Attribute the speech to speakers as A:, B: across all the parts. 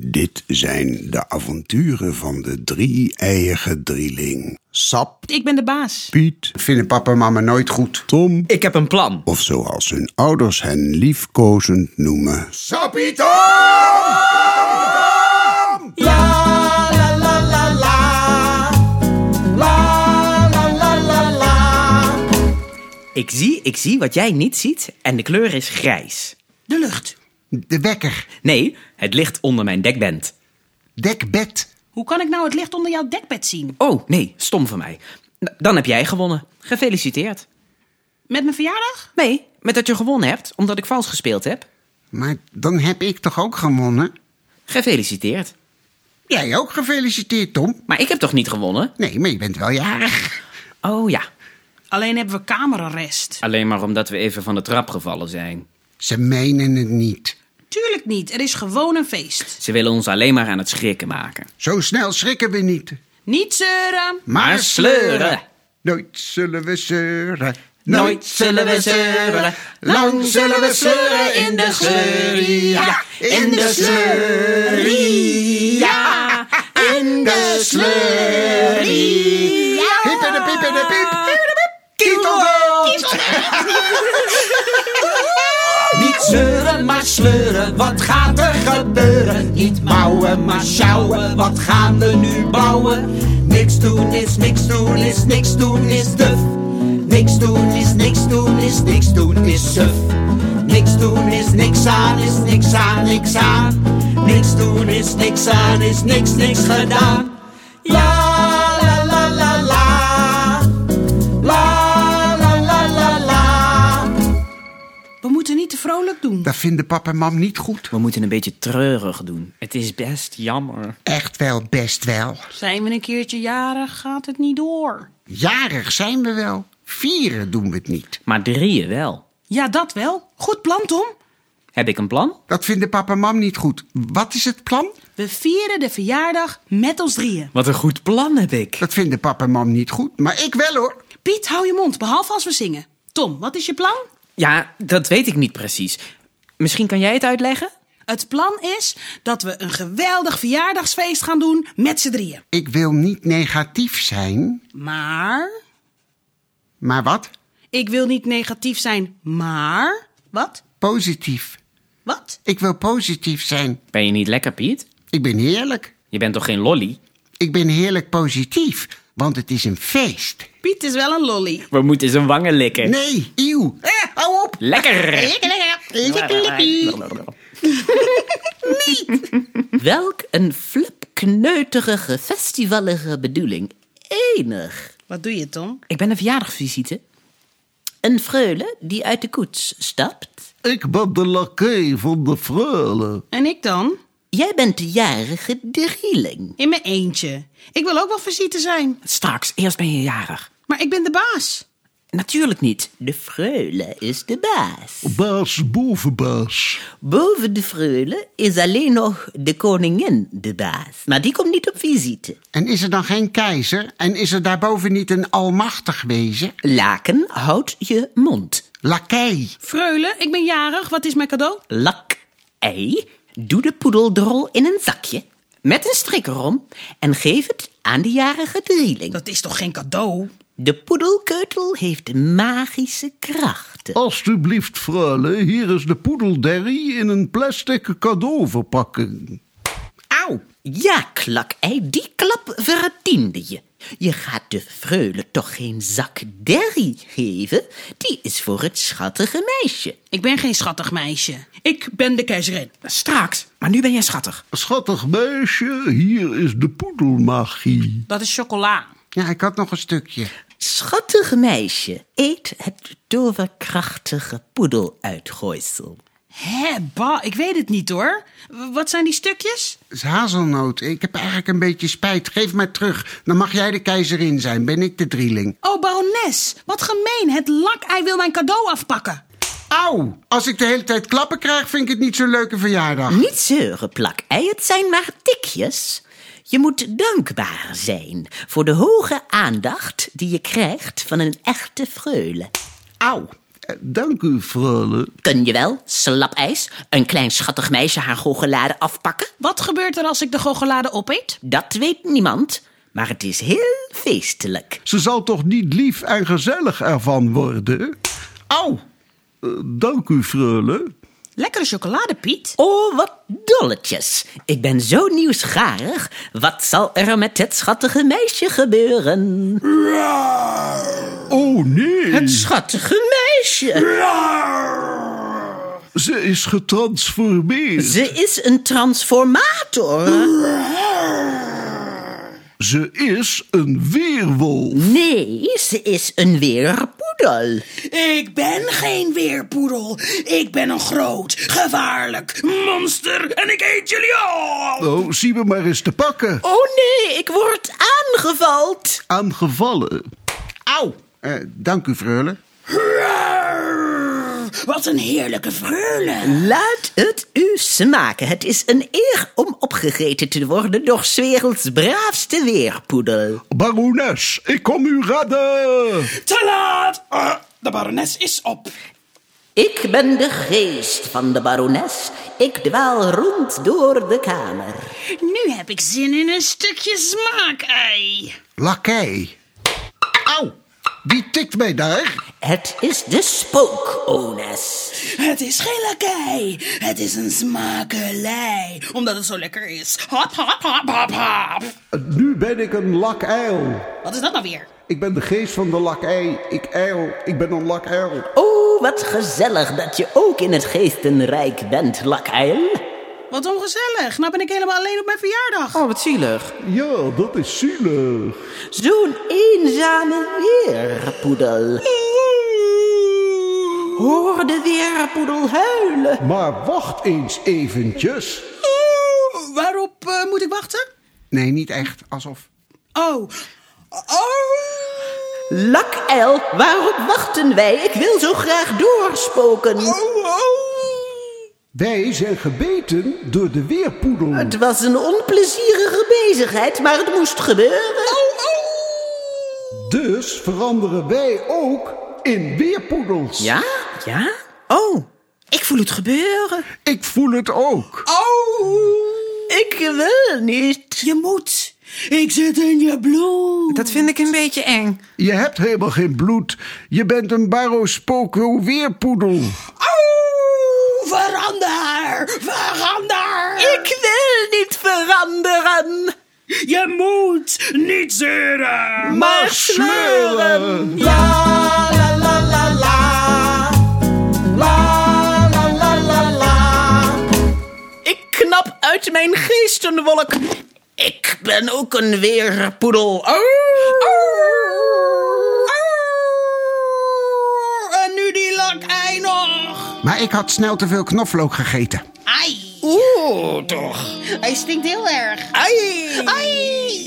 A: Dit zijn de avonturen van de drie-eiige drieling. Sap,
B: Ik ben de baas.
A: Piet, vinden papa en mama nooit goed. Tom,
C: Ik heb een plan.
A: of zoals hun ouders hen liefkozend noemen. Sapito!
C: Ik zie, ik zie wat jij niet ziet en de kleur is grijs.
B: De lucht.
A: De wekker,
C: Nee, het ligt onder mijn dekband.
A: dekbed.
B: Hoe kan ik nou het licht onder jouw dekbed zien?
C: Oh, nee, stom van mij. N- Dan heb jij gewonnen. Gefeliciteerd.
B: Met mijn verjaardag?
C: Nee, met dat je gewonnen hebt, omdat ik vals gespeeld heb.
A: Maar dan heb ik toch ook gewonnen?
C: Gefeliciteerd.
A: Jij ook gefeliciteerd, Tom.
C: Maar ik heb toch niet gewonnen?
A: Nee, maar je bent wel jarig.
C: Oh ja,
B: Alleen hebben we kamerarrest.
C: alleen maar omdat we even van de trap gevallen zijn.
A: Ze menen het niet.
B: Tuurlijk niet, er is gewoon een feest.
C: Ze willen ons alleen maar aan het schrikken maken.
A: Zo snel schrikken we niet.
B: Niet zeuren.
C: Maar sleuren.
A: Nooit zullen we zeuren.
C: Nooit zullen we zeuren.
A: Lang zullen we zeuren in de slurrie. Ja, in de slurrie.
C: Ja, Ah,
A: in de slurrie. Hip en de piep en de piep. Kietelwoord.
C: Niet zeuren, maar sleuren, wat gaat er gebeuren? Niet mouwen, maar sjouwen, wat gaan we nu bouwen? Niks doen is niks doen is niks doen is duf. Niks doen is niks doen is niks doen is suf. Niks doen is niks aan is niks aan niks aan. Niks doen is niks aan is niks niks gedaan. Ja, la la la la. La la la la la.
B: We moeten niet te vrolijk doen.
A: Dat vinden pap en mam niet goed.
C: We moeten een beetje treurig doen. Het is best jammer.
A: Echt wel, best wel.
B: Zijn we een keertje jarig, gaat het niet door.
A: Jarig zijn we wel. Vieren doen we het niet.
C: Maar drieën wel.
B: Ja, dat wel. Goed plan, Tom.
C: Heb ik een plan?
A: Dat vinden papa en mam niet goed. Wat is het plan?
B: We vieren de verjaardag met ons drieën.
C: Wat een goed plan heb ik.
A: Dat vinden papa en mam niet goed. Maar ik wel hoor.
B: Piet, hou je mond, behalve als we zingen. Tom, wat is je plan?
C: Ja, dat weet ik niet precies. Misschien kan jij het uitleggen?
B: Het plan is dat we een geweldig verjaardagsfeest gaan doen met z'n drieën.
A: Ik wil niet negatief zijn.
B: Maar.
A: Maar wat?
B: Ik wil niet negatief zijn, maar. Wat?
A: Positief.
B: Wat?
A: Ik wil positief zijn.
C: Ben je niet lekker, Piet?
A: Ik ben heerlijk.
C: Je bent toch geen lolly?
A: Ik ben heerlijk positief. Want het is een feest.
B: Piet is wel een lolly.
C: We moeten zijn wangen likken.
A: Nee, eeuw. Eh, hou op.
C: Lekker! Welk een flipkneuterige, festivalige bedoeling. Enig.
B: Wat doe je, Tom?
C: Ik ben een verjaardagsvisite. Een freule die uit de koets stapt.
A: Ik ben de lakij van de freule.
B: En ik dan?
C: Jij bent de jarige drieling.
B: In mijn eentje. Ik wil ook wel visite zijn,
C: Straks, eerst ben je jarig.
B: maar ik ben de baas.
C: Natuurlijk niet. De freule is de baas.
A: Baas boven baas.
C: Boven de freule is alleen nog de koningin de baas. Maar die komt niet op visite.
A: En is er dan geen keizer? En is er daarboven niet een almachtig wezen?
C: Laken, houd je mond.
A: Lakij.
B: Freule, ik ben jarig. Wat is mijn cadeau?
C: Lak, ei, doe de poedeldrol in een zakje. Met een strik erom. En geef het aan de jarige drieling.
B: Dat is toch geen cadeau?
C: De poedelkeutel heeft magische krachten.
A: Oh.
D: Alsjeblieft, freule, hier is de poedelderry in een plastic cadeauverpakking.
A: Auw.
C: Ja, klakei, die klap verdiende je. Je gaat de freule toch geen zak derrie geven? Die is voor het schattige meisje.
B: Ik ben geen schattig meisje. Ik ben de keizerin.
C: Straks, maar nu ben jij schattig.
D: Schattig meisje, hier is de poedelmagie.
B: Dat is chocola.
A: Ja, ik had nog een stukje.
C: Schattig meisje, eet het toverkrachtige poedeluitgooisel.
B: Hé, ba, ik weet het niet hoor. W- Wat zijn die stukjes?
A: Het is hazelnoot. Ik heb eigenlijk een beetje spijt. Geef maar terug. Dan mag jij de keizerin zijn. Ben ik de drieling.
B: Oh, barones, wat gemeen. Het lakei wil mijn cadeau afpakken.
A: Auw. Als ik de hele tijd klappen krijg, vind ik het niet zo'n leuke verjaardag.
C: Niet zeuren, plak ei, het zijn maar tikjes. Je moet dankbaar zijn voor de hoge aandacht die je krijgt van een echte freule.
A: Auw. Eh, Dank u, freule.
C: Kun je wel, slap ijs, een klein schattig meisje haar goochelade afpakken?
B: Wat gebeurt er als ik de goochelade opeet?
C: Dat weet niemand, maar het is heel feestelijk.
A: Ze zal toch niet lief en gezellig ervan worden?
C: Au!
A: Eh, dank u, freule.
B: Lekkere chocolade, Piet.
C: Oh, wat dolletjes. Ik ben zo nieuwsgierig. Wat zal er met het schattige meisje gebeuren?
A: Oh nee,
C: Het schattige meisje.
A: ze is getransformeerd. Ze,
C: Ze is een transformator.
A: is een weerwolf.
C: Nee, ze is een weerpoedel.
B: Ik ben geen weerpoedel. Ik ben een groot, gevaarlijk monster en ik eet jullie al.
A: Oh, zie me maar eens te pakken.
C: Oh nee, ik word aangevald.
A: Aangevallen.
E: Au! Eh, dank u, freule.
B: Wat een heerlijke vreule.
C: Laat het u smaken. Het is een eer om opgegeten te worden door 's werelds braafste weerpoedel.
A: Barones, ik kom u redden.
B: Te laat. Ah, de barones is op.
C: Ik ben de geest van de barones. Ik dwaal rond door de kamer.
B: Nu heb ik zin in een stukje smaakei.
E: Lakij. Au! Wie tikt mij daar?
C: Het is de spookones.
B: Het is geen lakij. Het is een smakelei. Omdat het zo lekker is. Hap, hap, hap, hap, hap.
A: Nu ben ik een lakijl.
B: Wat is dat nou weer?
A: Ik ben de geest van de lakij. Ik eil, ik ben een lakijl.
C: Oh, wat gezellig dat je ook in het geestenrijk bent, Lakheil.
B: Wat ongezellig. Nou ben ik helemaal alleen op mijn verjaardag.
F: Oh, wat zielig.
A: Ja, dat is zielig.
C: Zo'n eenzame weerpoedel. Hoor de weerpoedel huilen.
A: Maar wacht eens eventjes.
B: Waarop eh, moet ik wachten?
E: Nee, niet echt. Alsof.
B: Oh. Oh.
C: Lakijl, waarop wachten wij? Ik wil zo graag doorspoken.
B: Oh,
A: Wij zijn gebeten door de weerpoedel.
C: Het was een onplezierige bezigheid, maar het moest gebeuren.
A: Dus veranderen wij ook in weerpoedels.
C: Ja? Ja? Oh, ik voel het gebeuren.
A: Ik voel het ook.
C: Ik wil niet.
B: Oh. Je moet. Ik zit in je bloed.
F: Dat vind ik een beetje eng.
A: Je hebt helemaal geen bloed. Je bent een barospoco weerpoedel.
B: Oh, verander. Verander.
C: Ik wil niet veranderen,
B: Je moet niet zeuren.
C: maar sleuren. Ik knap uit mijn geestenwolk. Ik ben ook een weerpoedel. Au.
B: En nu die lakij nog.
E: Maar ik had snel te veel knoflook gegeten.
B: Ai.
C: Oeh, toch.
B: Hij stinkt heel erg.
F: Ai!
B: Ai.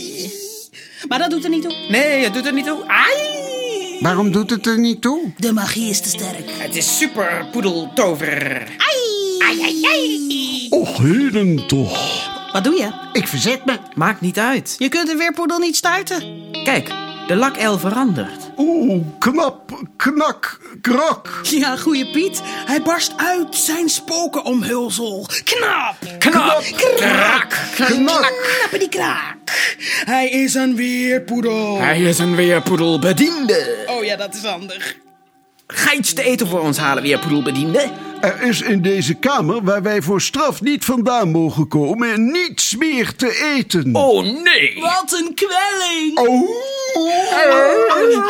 B: Maar dat doet er niet toe.
F: Nee, het doet er niet toe. Ai!
E: Waarom doet het er niet toe?
B: De magie is te sterk.
F: Het is super poedeltover.
B: Ai, ai, ai.
A: Och, heden toch.
B: Wat doe je?
E: Ik verzet me.
F: Maakt niet uit.
B: Je kunt de weerpoedel niet stuiten.
F: Kijk, de lakijl verandert.
A: Oeh, knap, knak, krak.
B: Ja, goeie Piet. Hij barst uit zijn spokenomhulsel. Knap!
F: Knap!
B: Kraak!
A: Knak.
B: Knappity kraak! Hij is een weerpoedel.
F: Hij is een weerpoedelbediende.
B: Oh ja, dat is handig.
F: Ga iets te eten voor ons halen, weerpoedelbediende.
A: Er is in deze kamer, waar wij voor straf niet vandaan mogen komen, niets meer te eten.
F: Oh nee!
B: Wat een kwelling!
A: Au. Au.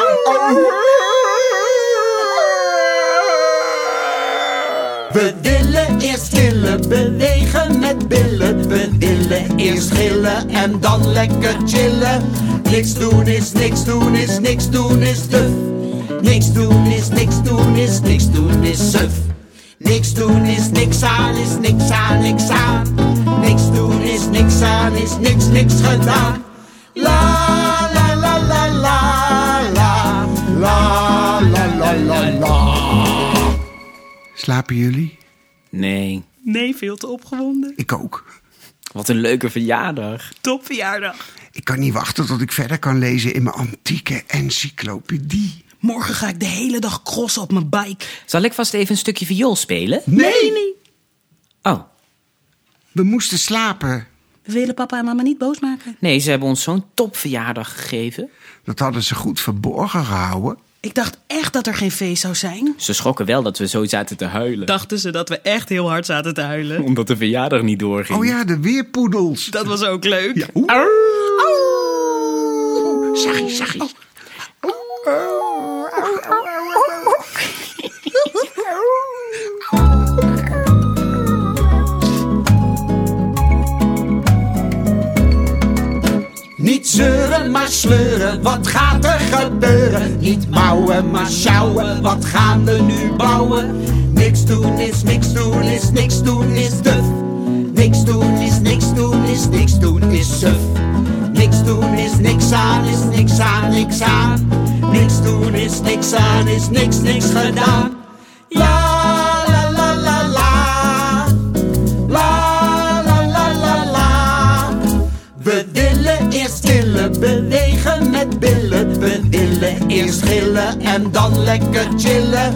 G: We willen eerst chillen, bewegen met billen. We willen eerst gillen en dan lekker chillen. Niks doen is niks doen is niks doen is duf. Niks doen is niks doen is niks doen is suf. Niks doen is niks aan is niks aan niks aan. Niks doen is niks aan is niks niks gedaan. La la la la la la la la la la la.
E: Slapen jullie?
F: Nee,
B: Nee, veel te opgewonden.
E: Ik ook.
F: wat een leuke verjaardag.
B: Top verjaardag.
E: Ik kan niet wachten tot ik verder kan lezen in mijn antieke encyclopedie.
B: Morgen ga ik de hele dag crossen op mijn bike.
H: Zal ik vast even een stukje viool spelen?
D: Nee,
H: Oh,
A: We moesten slapen.
B: We willen papa en mama niet boos maken.
H: nee, ze hebben ons zo'n topverjaardag gegeven.
A: Dat hadden ze goed verborgen gehouden.
B: Ik dacht echt dat er geen feest zou zijn.
H: Ze schrokken wel dat we zo zaten te huilen.
B: Dachten ze dat we echt heel hard zaten te huilen.
H: Omdat de verjaardag niet doorging.
A: Oh ja, de weerpoedels.
B: Dat was ook leuk.
A: Zag je, zag je.
G: Niet zeuren, maar sleuren, wat gaat er gebeuren? Niet mouwen, maar sjouwen, wat gaan we nu bouwen? Niks doen is niks doen is niks doen is duf. Niks doen is niks doen is niks doen is suf. Niks doen is niks aan is niks aan niks aan. Niks doen is niks aan is niks niks gedaan. Ja, la la la la. La la la la la. We willen eerst chillen, bewegen met billen. We willen eerst gillen en dan lekker chillen.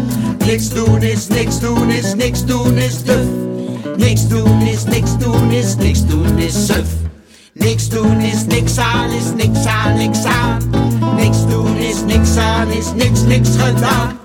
G: Niks doen is niks doen is niks doen is duf. Niks doen is niks doen is niks doen is suf. Niks doen is niks aan is niks aan niks aan. Niks doen is niks aan is niks niks gedaan.